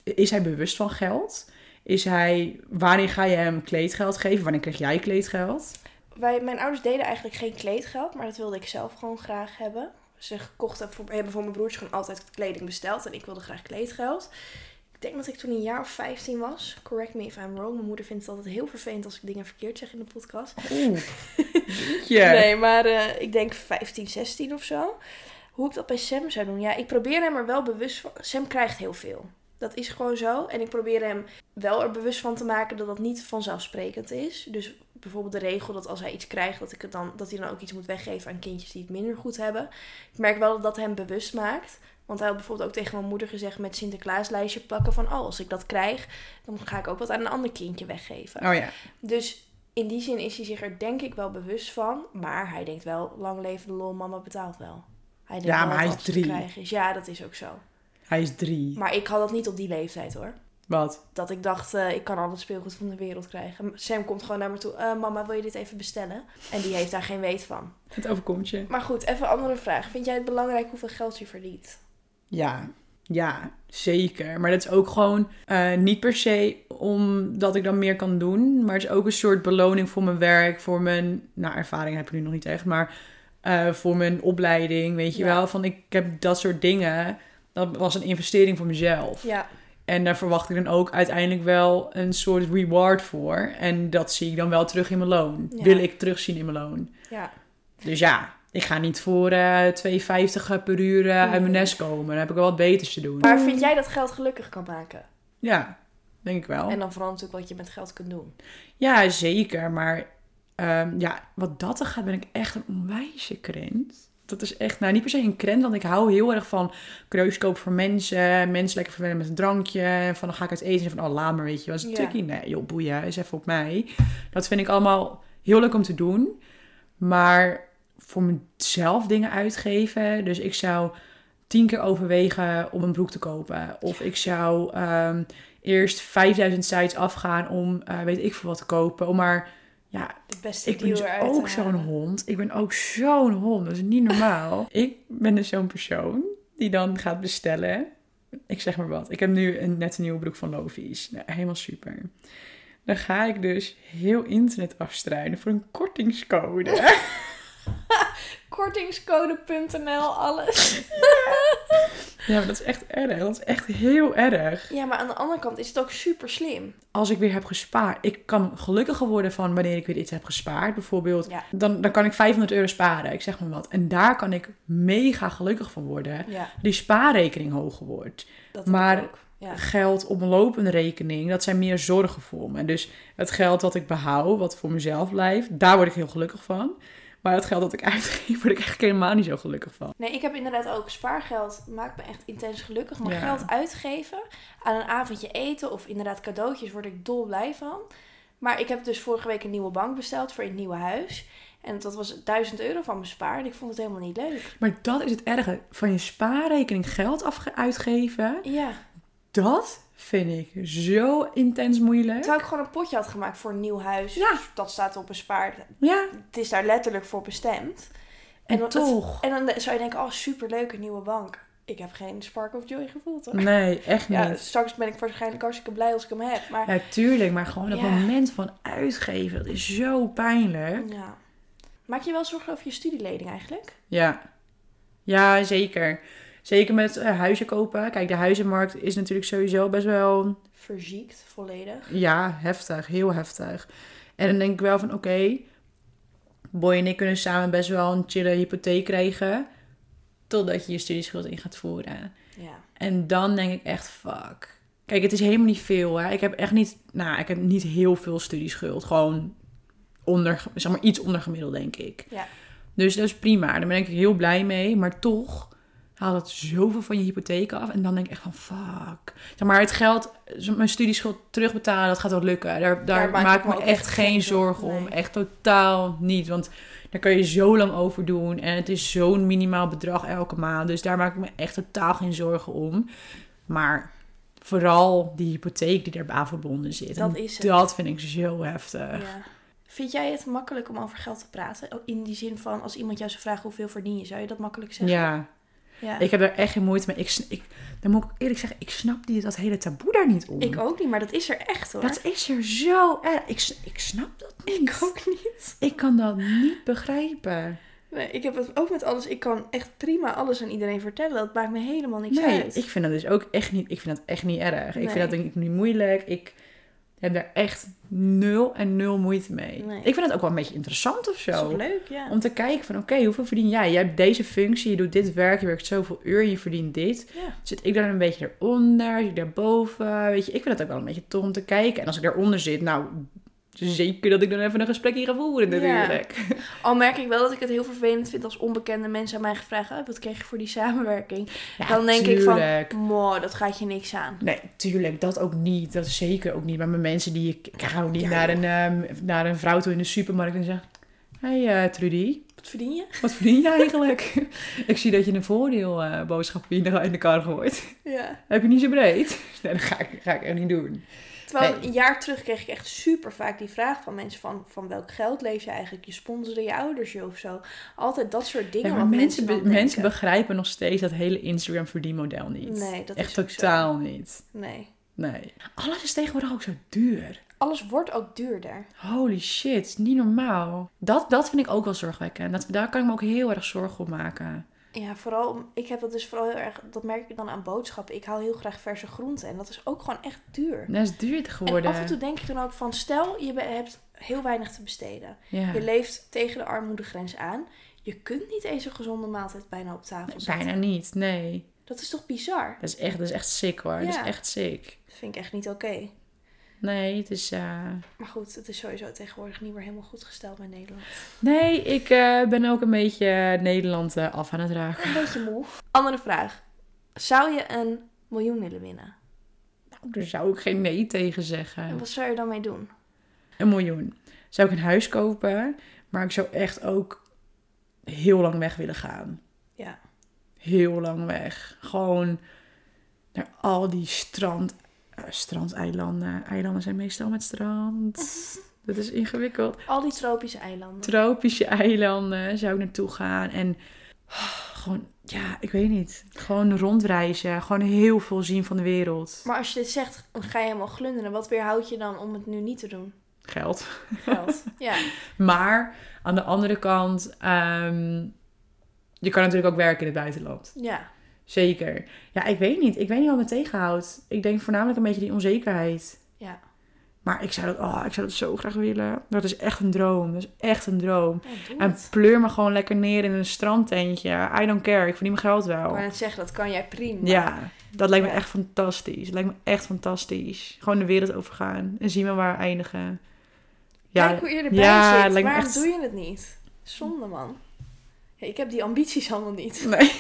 Speaker 2: is hij bewust van geld? Is hij, wanneer ga je hem kleedgeld geven? Wanneer krijg jij kleedgeld?
Speaker 1: Wij, mijn ouders deden eigenlijk geen kleedgeld, maar dat wilde ik zelf gewoon graag hebben. Ze kochten voor, hebben voor mijn broertje gewoon altijd kleding besteld en ik wilde graag kleedgeld. Ik denk dat ik toen een jaar of 15 was. Correct me if I'm wrong. Mijn moeder vindt het altijd heel vervelend als ik dingen verkeerd zeg in de podcast.
Speaker 2: Oeh. Ja.
Speaker 1: Nee, maar eh, ik denk 15, 16 of zo. Hoe ik dat bij Sam zou doen. Ja, ik probeer hem er wel bewust van. Sam krijgt heel veel. Dat is gewoon zo. En ik probeer hem wel er bewust van te maken dat dat niet vanzelfsprekend is. Dus bijvoorbeeld de regel dat als hij iets krijgt, dat, ik het dan, dat hij dan ook iets moet weggeven aan kindjes die het minder goed hebben. Ik merk wel dat dat hem bewust maakt. Want hij had bijvoorbeeld ook tegen mijn moeder gezegd met Sinterklaaslijstje plakken van... oh, als ik dat krijg, dan ga ik ook wat aan een ander kindje weggeven.
Speaker 2: Oh ja.
Speaker 1: Dus in die zin is hij zich er denk ik wel bewust van. Maar hij denkt wel, lang leven de lol, mama betaalt wel. Hij denkt
Speaker 2: Ja,
Speaker 1: wel dat
Speaker 2: maar hij is
Speaker 1: alles te
Speaker 2: drie.
Speaker 1: krijgen is. Ja, dat is ook zo.
Speaker 2: Hij is drie.
Speaker 1: Maar ik had dat niet op die leeftijd hoor.
Speaker 2: Wat?
Speaker 1: Dat ik dacht, eh, ik kan al het speelgoed van de wereld krijgen. Sam komt gewoon naar me toe. "Eh, mama, wil je dit even bestellen? En die heeft daar geen weet van.
Speaker 2: Het overkomt je.
Speaker 1: Maar goed, even een andere vraag. Vind jij het belangrijk hoeveel geld je verdient?
Speaker 2: Ja, ja, zeker. Maar dat is ook gewoon eh, niet per se omdat ik dan meer kan doen. Maar het is ook een soort beloning voor mijn werk, voor mijn... Nou, ervaring heb ik nu nog niet echt, maar eh, voor mijn opleiding, weet je
Speaker 1: Ja.
Speaker 2: wel. Van ik heb dat soort dingen. Dat was een investering voor mezelf.
Speaker 1: Ja,
Speaker 2: En daar verwacht ik dan ook uiteindelijk wel een soort reward voor. En dat zie ik dan wel terug in mijn loon.
Speaker 1: Ja.
Speaker 2: Wil ik terugzien in mijn loon.
Speaker 1: ja.
Speaker 2: Dus ja, ik ga niet voor eh 2,50 per uur eh, uit mijn
Speaker 1: Nee.
Speaker 2: nest komen. Dan heb ik wel wat beters te doen.
Speaker 1: Maar vind jij dat geld gelukkig kan maken?
Speaker 2: Ja, denk ik wel.
Speaker 1: En dan vooral natuurlijk wat je met geld kunt doen.
Speaker 2: Ja, zeker. Maar ehm, ja, wat dat er gaat, ben ik echt een onwijze krent. Dat is echt, nou niet per se een krent, want ik hou heel erg van cadeaus kopen voor mensen. Mensen lekker verwennen met een drankje. En van dan ga ik uit eten en van, oh laat maar, weet je, was het
Speaker 1: Ja.
Speaker 2: tukkie? Nee, joh, boeien, is even op mij. Dat vind ik allemaal heel leuk om te doen. Maar voor mezelf dingen uitgeven, dus ik zou tien keer overwegen om een broek te kopen. Of ik zou ehm, eerst 5000 sites afgaan om eh, weet ik veel wat te kopen. Om maar, ja,
Speaker 1: Het beste
Speaker 2: ik ben
Speaker 1: deal eh,
Speaker 2: dus
Speaker 1: eruit
Speaker 2: ook
Speaker 1: te
Speaker 2: zo'n
Speaker 1: halen.
Speaker 2: hond. Ik ben ook zo'n hond. Dat is niet normaal. ik ben dus zo'n persoon die dan gaat bestellen. Ik zeg maar wat. Ik heb nu een net een nieuwe broek van Lovies. Nou, helemaal super. Dan ga ik dus heel internet afstruinen voor een kortingscode.
Speaker 1: Kortingscode.nl, alles.
Speaker 2: Ja, maar dat is echt erg. Dat is echt heel erg.
Speaker 1: Ja, maar aan de andere kant is het ook super slim.
Speaker 2: Als ik weer heb gespaard. Ik kan gelukkiger worden van wanneer ik weer iets heb gespaard. Bijvoorbeeld,
Speaker 1: Ja.
Speaker 2: dan, dan kan ik 500 euro sparen. Ik zeg maar wat. En daar kan ik mega gelukkig van worden.
Speaker 1: Ja,
Speaker 2: Die spaarrekening hoger wordt.
Speaker 1: dat
Speaker 2: Maar-
Speaker 1: maar, ook. Ja.
Speaker 2: Geld op een lopende rekening, dat zijn meer zorgen voor me. Dus het geld dat ik behoud, wat voor mezelf blijft, daar word ik heel gelukkig van. Maar het geld dat ik uitgeef, word ik echt helemaal niet zo gelukkig van.
Speaker 1: Nee, ik heb inderdaad ook spaargeld. Maakt me echt intens gelukkig. Maar
Speaker 2: Ja.
Speaker 1: geld uitgeven aan een avondje eten of inderdaad cadeautjes word ik dol blij van. Maar ik heb dus vorige week een nieuwe bank besteld voor in het nieuwe huis. En dat was 1000 euro van mijn spaar. En ik vond het helemaal niet leuk.
Speaker 2: Maar dat is het erge. Van je spaarrekening geld afge- uitgeven,
Speaker 1: Ja.
Speaker 2: dat vind ik zo intens moeilijk.
Speaker 1: Terwijl ik gewoon een potje had gemaakt voor een nieuw huis. Dus
Speaker 2: Ja.
Speaker 1: Dat staat op een spaar.
Speaker 2: Ja,
Speaker 1: Het is daar letterlijk voor bestemd.
Speaker 2: en
Speaker 1: dan-
Speaker 2: toch.
Speaker 1: En dan zou je denken, oh superleuk, een nieuwe bank. Ik heb geen spark of joy gevoeld hoor.
Speaker 2: Nee, echt niet.
Speaker 1: Ja,
Speaker 2: Ja,
Speaker 1: straks ben ik waarschijnlijk hartstikke blij als ik hem heb. Maar
Speaker 2: tuurlijk, maar gewoon dat
Speaker 1: Ja.
Speaker 2: moment van uitgeven, dat is zo pijnlijk.
Speaker 1: Ja. Maak je wel zorgen over je studielening eigenlijk?
Speaker 2: Ja. Ja, zeker. Zeker met eh, huizen kopen. Kijk, de huizenmarkt is natuurlijk sowieso best wel,
Speaker 1: Verziekt, volledig.
Speaker 2: ja, heftig. Heel heftig. En dan denk ik wel van, oké, Boy en ik kunnen samen best wel een chille hypotheek krijgen. Totdat je je studieschuld in gaat voeren.
Speaker 1: Ja.
Speaker 2: En dan denk ik echt, fuck. Kijk, het is helemaal niet veel, hè. Ik heb echt niet, nou, ik heb niet heel veel studieschuld. Gewoon onder, zeg maar iets onder gemiddeld, denk ik.
Speaker 1: Ja.
Speaker 2: Dus dat is prima. Daar ben ik heel blij mee. Maar toch haalt het zoveel van je hypotheek af. En dan denk ik echt van, fuck. Zeg maar, het geld, mijn studieschuld terugbetalen, dat gaat wel lukken. Daar, daar
Speaker 1: maak ik
Speaker 2: maak ik
Speaker 1: me
Speaker 2: me
Speaker 1: ook
Speaker 2: echt geen zorgen om.
Speaker 1: nee.
Speaker 2: Echt totaal niet. Want daar kan je zo lang over doen. En het is zo'n minimaal bedrag elke maand. Dus daar maak ik me echt totaal geen zorgen om. Maar vooral die hypotheek die daarbij verbonden zit.
Speaker 1: Dat
Speaker 2: En
Speaker 1: is het.
Speaker 2: dat vind ik zo heftig.
Speaker 1: ja. Vind jij het makkelijk om over geld te praten? Ook In die zin van, als iemand jou zou vragen hoeveel verdien je, zou je dat makkelijk zeggen?
Speaker 2: ja.
Speaker 1: Ja.
Speaker 2: Ik heb daar echt geen moeite mee. Ik, sn- ik, dan moet ik eerlijk zeggen, ik snap die, dat hele taboe daar niet om.
Speaker 1: Ik ook niet, maar dat is er echt hoor.
Speaker 2: Dat is er zo erg. Ik, s- ik snap dat niet. Ik,
Speaker 1: ook niet.
Speaker 2: kan dat niet begrijpen.
Speaker 1: Nee, ik heb het ook met alles. Ik kan echt prima alles aan iedereen vertellen. Dat maakt me helemaal niks
Speaker 2: Nee,
Speaker 1: uit.
Speaker 2: ik vind dat dus ook echt niet, ik vind dat echt niet erg. Ik
Speaker 1: Nee.
Speaker 2: vind dat denk ik niet moeilijk. Ik heb daar echt nul en nul moeite mee.
Speaker 1: Nee.
Speaker 2: Ik vind het ook wel een beetje interessant of zo.
Speaker 1: Dat is toch leuk, ja.
Speaker 2: Om te kijken van oké, hoeveel verdien jij? Jij hebt deze functie, je doet dit werk, je werkt zoveel uur, je verdient dit.
Speaker 1: ja.
Speaker 2: Zit ik daar een beetje eronder? Zit ik daarboven? Weet je, ik vind dat ook wel een beetje tof om te kijken. En als ik daaronder zit, nou, zeker dat ik dan even een gesprek hier ga
Speaker 1: Ja.
Speaker 2: voeren natuurlijk.
Speaker 1: Al merk ik wel dat ik het heel vervelend vind als onbekende mensen aan mij gevraagd oh, wat kreeg je voor die samenwerking?
Speaker 2: Ja,
Speaker 1: Dan denk ik van-
Speaker 2: tuurlijk.
Speaker 1: Mooi, dat gaat je niks aan.
Speaker 2: Nee, tuurlijk, dat ook niet. Dat is zeker ook niet. Maar met mensen die... Ik, ik ga ook niet
Speaker 1: Ja,
Speaker 2: naar, een, ehm, naar een vrouw toe in de supermarkt en zeg... Hé hey, eh, Trudy,
Speaker 1: Wat verdien je?
Speaker 2: wat verdien jij eigenlijk? ik zie dat je een voordeelboodschap in de- in de kar gooit.
Speaker 1: Ja.
Speaker 2: Heb je niet zo breed? Nee, dat ga ik, ga ik echt niet doen.
Speaker 1: Terwijl
Speaker 2: Nee.
Speaker 1: een jaar terug kreeg ik echt super vaak die vraag van mensen van, van welk geld leef je eigenlijk? Je sponsoren je ouders je of zo. Altijd dat soort dingen.
Speaker 2: Ja, maar
Speaker 1: wat
Speaker 2: mensen, be-
Speaker 1: mensen, dan
Speaker 2: mensen
Speaker 1: denken.
Speaker 2: begrijpen nog steeds dat hele Instagram verdienmodel niet.
Speaker 1: Nee, dat
Speaker 2: Echt
Speaker 1: is ook zo.
Speaker 2: totaal niet.
Speaker 1: Nee.
Speaker 2: Nee. Alles is tegenwoordig ook zo duur.
Speaker 1: Alles wordt ook duurder.
Speaker 2: Holy shit, niet normaal. Dat, dat vind ik ook wel zorgwekkend. Dat, daar kan ik me ook heel erg zorgen om maken.
Speaker 1: Ja, vooral, om- ik heb dat dus vooral heel erg, dat merk ik dan aan boodschappen. Ik haal heel graag verse groenten en dat is ook gewoon echt duur.
Speaker 2: Dat is duurder
Speaker 1: En
Speaker 2: geworden.
Speaker 1: af en toe denk ik dan ook van, stel je be- hebt heel weinig te besteden.
Speaker 2: ja.
Speaker 1: Je leeft tegen de armoedegrens aan. Je kunt niet eens een gezonde maaltijd bijna op tafel zetten.
Speaker 2: Bijna niet, nee.
Speaker 1: Dat is toch bizar?
Speaker 2: Dat is echt, dat is echt sick hoor. Dat
Speaker 1: Ja.
Speaker 2: is echt sick.
Speaker 1: Dat vind ik echt niet oké.
Speaker 2: Nee, het is... eh,
Speaker 1: Maar goed, het is sowieso tegenwoordig niet meer helemaal goed gesteld bij Nederland.
Speaker 2: Nee, ik eh, ben ook een beetje eh, Nederland eh, af aan het raken.
Speaker 1: Een beetje moe. Andere vraag. Zou je een miljoen willen winnen?
Speaker 2: Nou, daar zou ik geen nee tegen
Speaker 1: En
Speaker 2: zeggen.
Speaker 1: wat zou je dan mee doen?
Speaker 2: Een miljoen. Zou ik een huis kopen, maar ik zou echt ook heel lang weg willen gaan.
Speaker 1: Ja.
Speaker 2: Heel lang weg. Gewoon naar al die strand, eh, strandeilanden. Eilanden zijn meestal met strand. Dat is ingewikkeld.
Speaker 1: Al die tropische eilanden.
Speaker 2: Tropische eilanden zou ik naartoe gaan. En oh, gewoon, ja, ik weet niet. Gewoon rondreizen. Gewoon heel veel zien van de wereld.
Speaker 1: Maar als je dit zegt, dan ga je helemaal glunderen. Wat weerhoudt je dan om het nu niet te doen?
Speaker 2: Geld.
Speaker 1: Geld. Ja.
Speaker 2: Maar aan de andere kant, ehm, je kan natuurlijk ook werken in het buitenland.
Speaker 1: Ja.
Speaker 2: Zeker. Ja, ik weet niet. Ik weet niet wat me tegenhoudt. Ik denk voornamelijk een beetje die onzekerheid.
Speaker 1: Ja.
Speaker 2: Maar ik zou dat, oh, ik zou dat zo graag willen. Dat is echt een droom. Dat is echt een droom.
Speaker 1: Ja, doe
Speaker 2: En
Speaker 1: het.
Speaker 2: pleur me gewoon lekker neer in een strandtentje. I don't care. Ik verdien mijn geld wel.
Speaker 1: Ik wou net zeggen, dat kan jij prima.
Speaker 2: Ja, dat lijkt me
Speaker 1: Ja.
Speaker 2: echt fantastisch. Dat lijkt me echt fantastisch. Gewoon de wereld overgaan en zien we waar we eindigen. Ja,
Speaker 1: Kijk hoe je erbij
Speaker 2: Ja, het
Speaker 1: zit.
Speaker 2: lijkt me
Speaker 1: Waarom
Speaker 2: echt-
Speaker 1: doe je het niet? Zonde, man. Ja, ik heb die ambities allemaal niet.
Speaker 2: Nee.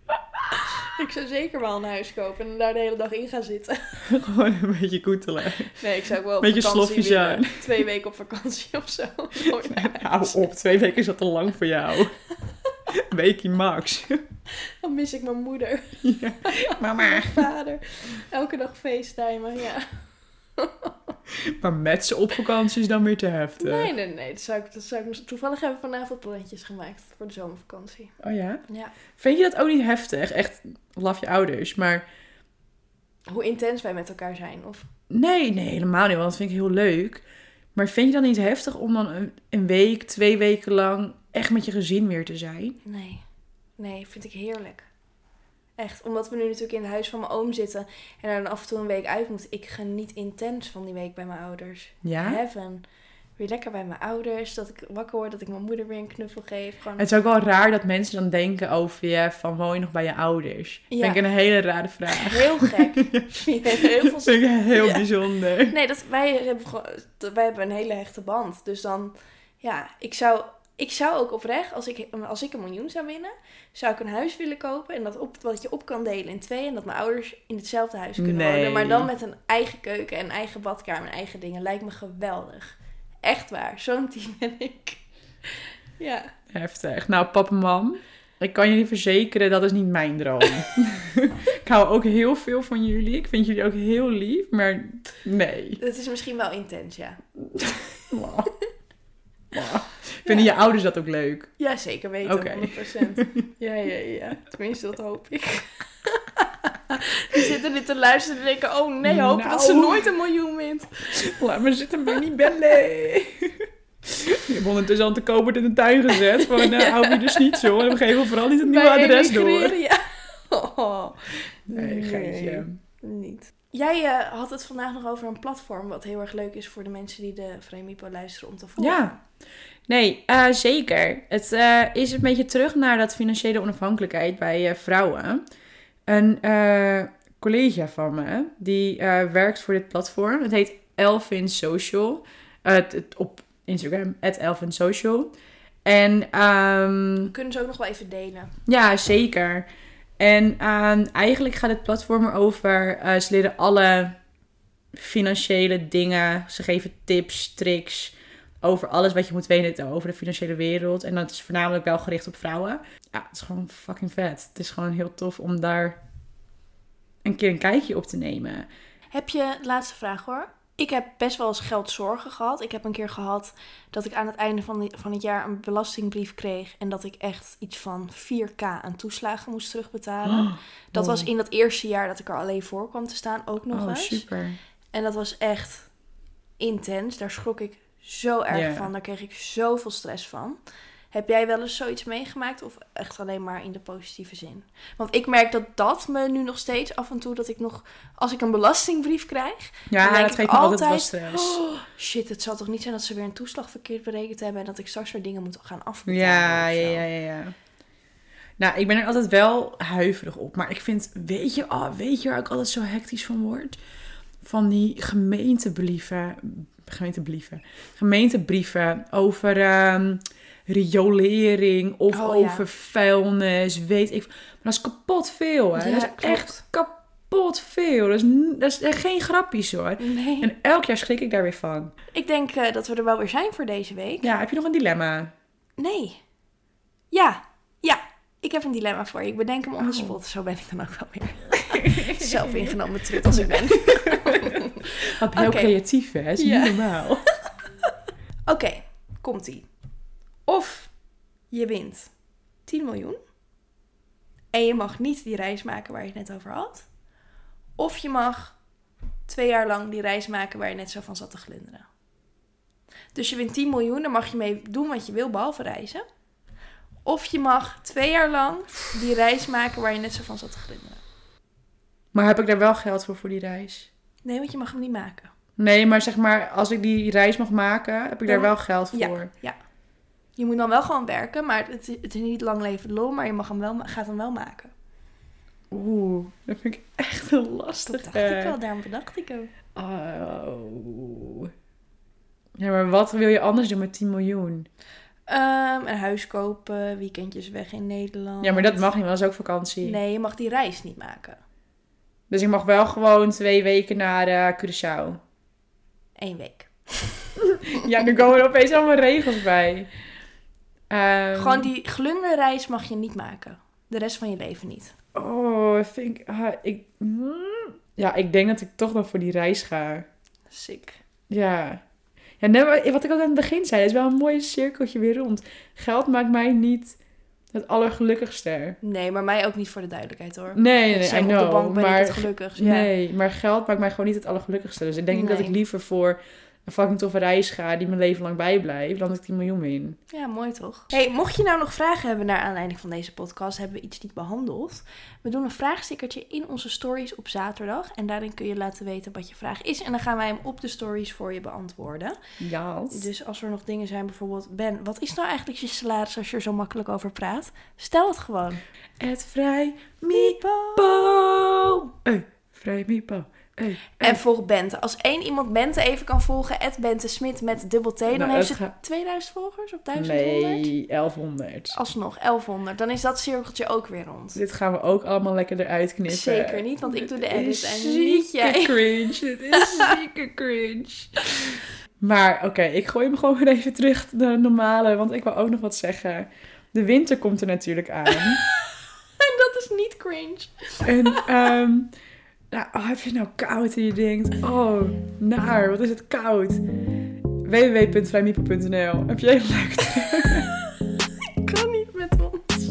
Speaker 1: ik zou zeker wel een huis kopen en daar de hele dag in gaan zitten.
Speaker 2: gewoon een beetje koetelen.
Speaker 1: Nee, ik zou ook wel op
Speaker 2: Beetje
Speaker 1: vakantie
Speaker 2: slofjes,
Speaker 1: willen. Twee weken op vakantie of zo. Nooit naar
Speaker 2: Hou
Speaker 1: huis.
Speaker 2: op, twee weken is dat te lang voor jou. Weekie max.
Speaker 1: Dan mis ik mijn moeder,
Speaker 2: Mama.
Speaker 1: mijn vader. Elke dag facetimen, ja.
Speaker 2: Maar met ze op vakantie is dan weer te heftig.
Speaker 1: Nee, nee, nee. Dat zou ik, dat zou ik... Toevallig hebben we vanavond plannetjes gemaakt voor de zomervakantie.
Speaker 2: Oh ja?
Speaker 1: Ja.
Speaker 2: Vind je dat ook niet heftig? Echt, laf je ouders. Maar
Speaker 1: Hoe intens wij met elkaar zijn. Of...
Speaker 2: nee, nee, helemaal niet. Want dat vind ik heel leuk. Maar vind je dan niet heftig om dan een, een week, twee weken lang echt met je gezin weer te zijn?
Speaker 1: Nee. Nee, vind ik heerlijk. Echt, omdat we nu natuurlijk in het huis van mijn oom zitten en er dan af en toe een week uit moet. Ik geniet intens van die week bij mijn ouders.
Speaker 2: Ja?
Speaker 1: Heaven. Weer lekker bij mijn ouders, dat ik wakker word, dat ik mijn moeder weer een knuffel geef. Gewoon...
Speaker 2: Het is ook wel raar dat mensen dan denken over je van woon je nog bij je ouders.
Speaker 1: Ja.
Speaker 2: Vind ik een hele rare vraag.
Speaker 1: Heel gek. Ja, heel veel
Speaker 2: Vind ik heel
Speaker 1: Ja.
Speaker 2: bijzonder.
Speaker 1: Nee, dat, wij, hebben gewoon, wij hebben een hele hechte band. Dus dan, ja, ik zou, ik zou ook oprecht, als ik, als ik een miljoen zou winnen, zou ik een huis willen kopen. En dat, op, wat je op kan delen in twee. En dat mijn ouders in hetzelfde huis kunnen
Speaker 2: Nee.
Speaker 1: wonen. Maar dan met een eigen keuken en eigen badkamer en eigen dingen. Lijkt me geweldig. Echt waar. Zo'n team ben ik. Ja.
Speaker 2: Heftig. Nou, pap en mam, ik kan jullie verzekeren, dat is niet mijn droom. ik hou ook heel veel van jullie. Ik vind jullie ook heel lief, maar nee.
Speaker 1: Dat is misschien wel intens, ja.
Speaker 2: Mwah. Mwah. Vinden je ouders dat ook leuk?
Speaker 1: Ja, zeker weten.
Speaker 2: Oké.
Speaker 1: 100%. Ja, ja, ja. Tenminste, dat hoop ik. Die zitten dit te luisteren en denken: oh nee, hoop
Speaker 2: Nou.
Speaker 1: dat ze nooit een miljoen wint.
Speaker 2: Laat me zitten, ben niet bellen. Je hebt ondertussen al te koper in de tuin gezet. Van, nou, hou je dus niet zo. En we geven vooral niet het nieuwe
Speaker 1: Wij
Speaker 2: adres door.
Speaker 1: emigreren, Ja. Oh,
Speaker 2: Nee, geintje.
Speaker 1: Niet. Jij eh, had het vandaag nog over een platform wat heel erg leuk is voor de mensen die de Vremipo luisteren om te volgen.
Speaker 2: Ja. Nee, eh, zeker. Het eh, is een beetje terug naar dat financiële onafhankelijkheid bij eh, vrouwen. Een eh, collega van me, die eh, werkt voor dit platform. Het heet Elvin Social. Eh, het- het- op Instagram, Elvin Social. En ehm,
Speaker 1: We kunnen ze ook nog wel even delen.
Speaker 2: ja, zeker. En ehm, eigenlijk gaat het platform erover. eh ze leren alle financiële dingen. Ze geven tips, tricks. Over alles wat je moet weten over de financiële wereld. En dat is voornamelijk wel gericht op vrouwen. Ja, het is gewoon fucking vet. Het is gewoon heel tof om daar een keer een kijkje op te nemen.
Speaker 1: Heb je, laatste vraag hoor. Ik heb best wel eens geldzorgen gehad. Ik heb een keer gehad dat ik aan het einde van, die- van het jaar een belastingbrief kreeg. En dat ik echt iets van 4k aan toeslagen moest terugbetalen. dat was in dat eerste jaar dat ik er alleen voor kwam te staan ook nog
Speaker 2: Oh,
Speaker 1: eens.
Speaker 2: super.
Speaker 1: En dat was echt intens. Daar schrok ik zo erg
Speaker 2: Ja.
Speaker 1: van. Daar kreeg ik zoveel stress van. Heb jij wel eens zoiets meegemaakt of echt alleen maar in de positieve zin? Want ik merk dat dat me nu nog steeds af en toe dat ik nog als ik een belastingbrief krijg,
Speaker 2: Ja,
Speaker 1: denk
Speaker 2: dat
Speaker 1: ik
Speaker 2: geeft me altijd wel
Speaker 1: altijd, "Oh,
Speaker 2: stress.
Speaker 1: shit, het zal toch niet zijn dat ze weer een toeslag verkeerd berekend hebben en dat ik straks weer dingen moet gaan afbetalen.
Speaker 2: Ja,
Speaker 1: of zo.
Speaker 2: ja, ja, ja, ja. Nou, ik ben er altijd wel huiverig op. Maar ik vind, weet je, oh, weet je waar ik altijd zo hectisch van word? Van die gemeentebrieven, gemeentebrieven, gemeentebrieven over ehm, riolering
Speaker 1: Oh,
Speaker 2: of
Speaker 1: ja.
Speaker 2: over vuilnis, weet ik. Maar dat is kapot veel, hè?
Speaker 1: Ja,
Speaker 2: dat is
Speaker 1: klopt.
Speaker 2: echt kapot veel. Dat is, n- dat is echt geen grapjes, hoor.
Speaker 1: Nee.
Speaker 2: En elk jaar schrik ik daar weer van.
Speaker 1: Ik denk eh, dat we er wel weer zijn voor deze week.
Speaker 2: Ja, heb je nog een dilemma?
Speaker 1: Nee. Ja, ja. Ik heb een dilemma voor je. Ik bedenk hem on the
Speaker 2: Oh.
Speaker 1: spot. Zo ben ik dan ook wel weer. Zelf ingenomen trut als ik ben.
Speaker 2: Wat heel
Speaker 1: Oké.
Speaker 2: creatief, hè? Dat is
Speaker 1: Ja.
Speaker 2: niet normaal.
Speaker 1: Oké, komt ie. Of je wint 10 miljoen. En je mag niet die reis maken waar je het net over had. Of je mag twee jaar lang die reis maken waar je net zo van zat te glunderen. Dus je wint 10 miljoen, daar mag je mee doen wat je wil, behalve reizen. Of je mag twee jaar lang die reis maken waar je net zo van zat te grindelen.
Speaker 2: Maar heb ik daar wel geld voor, voor die reis?
Speaker 1: Nee, want je mag hem niet maken.
Speaker 2: Nee, maar zeg maar, als ik die reis mag maken, heb ik daar
Speaker 1: Ja.
Speaker 2: wel geld voor.
Speaker 1: Ja. Ja. Je moet dan wel gewoon werken, maar het, het is niet lang leven loon, maar je mag hem wel, ma- gaat hem wel maken.
Speaker 2: Oeh, dat vind ik echt heel lastig.
Speaker 1: Dat dacht
Speaker 2: hè.
Speaker 1: ik al, daarom bedacht ik ook.
Speaker 2: Oh. Ja, maar wat wil je anders doen met 10 miljoen?
Speaker 1: Ehm, een huis kopen, weekendjes weg in Nederland.
Speaker 2: Ja, maar dat mag niet, want dat is ook vakantie.
Speaker 1: Oh. Nee, je mag die reis niet maken.
Speaker 2: Dus ik mag wel gewoon twee weken naar eh, Curaçao.
Speaker 1: Eén week.
Speaker 2: Ja, nu komen er opeens allemaal regels bij. Ehm,
Speaker 1: Gewoon die glunderreis mag je niet maken. De rest van je leven niet.
Speaker 2: Oh, dat vind ik... ah, ik mm. ja, ik denk dat ik toch nog voor die reis ga.
Speaker 1: Sick.
Speaker 2: Ja. Ja, net wat- wat ik ook aan het begin zei, het is wel een mooi cirkeltje weer rond. Geld maakt mij niet het allergelukkigste.
Speaker 1: Nee, maar mij ook niet voor de duidelijkheid hoor.
Speaker 2: Nee, nee,
Speaker 1: Zeg,
Speaker 2: I
Speaker 1: op de bank
Speaker 2: know.
Speaker 1: ben ik het
Speaker 2: Maar
Speaker 1: gelukkig. Ja.
Speaker 2: Nee, maar geld maakt mij gewoon niet het allergelukkigste. Dus ik denk dat ik
Speaker 1: Nee.
Speaker 2: liever voor een fucking toffe reis ga die mijn leven lang bijblijft, dan dat ik 10 miljoen win.
Speaker 1: Ja, mooi toch? Hey, mocht je nou nog vragen hebben naar aanleiding van deze podcast, hebben we iets niet behandeld. We doen een vraagstickertje in onze stories op zaterdag. En daarin kun je laten weten wat je vraag is. En dan gaan wij hem op de stories voor je beantwoorden.
Speaker 2: Ja.
Speaker 1: Dus als er nog dingen zijn, bijvoorbeeld Ben, wat is nou eigenlijk je salaris als je er zo makkelijk over praat? Stel het gewoon.
Speaker 2: Het vrij
Speaker 1: Miepo!
Speaker 2: Hey, vrij Mipo. Hey,
Speaker 1: En volg Bente. Als één iemand Bente even kan volgen, at Bente Smit met dubbel T, dan
Speaker 2: Nou,
Speaker 1: heeft ze
Speaker 2: het ga-
Speaker 1: 2000 volgers of 1100.
Speaker 2: Nee, 1100.
Speaker 1: Alsnog, 1100. Dan is dat cirkeltje ook weer rond.
Speaker 2: Dit eh, gaan we ook allemaal lekker eruit knippen.
Speaker 1: Zeker niet, want ik doe de
Speaker 2: Dit
Speaker 1: edit
Speaker 2: is
Speaker 1: en niet
Speaker 2: zieke
Speaker 1: jij.
Speaker 2: cringe. Dit is zieke cringe. Maar oké, ik gooi hem gewoon weer even terug naar de normale, want ik wil ook nog wat zeggen. De winter komt er natuurlijk aan.
Speaker 1: En dat is niet cringe.
Speaker 2: En ehm, nou, oh, heb je het nou koud en je denkt, oh, naar, wat is het koud? www.vrijmiepen.nl Heb jij leuk
Speaker 1: Ik kan niet met ons.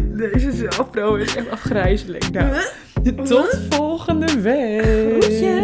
Speaker 2: Deze zelfpro is echt afgrijzelijk. Nou, tot volgende week.
Speaker 1: Groetjes.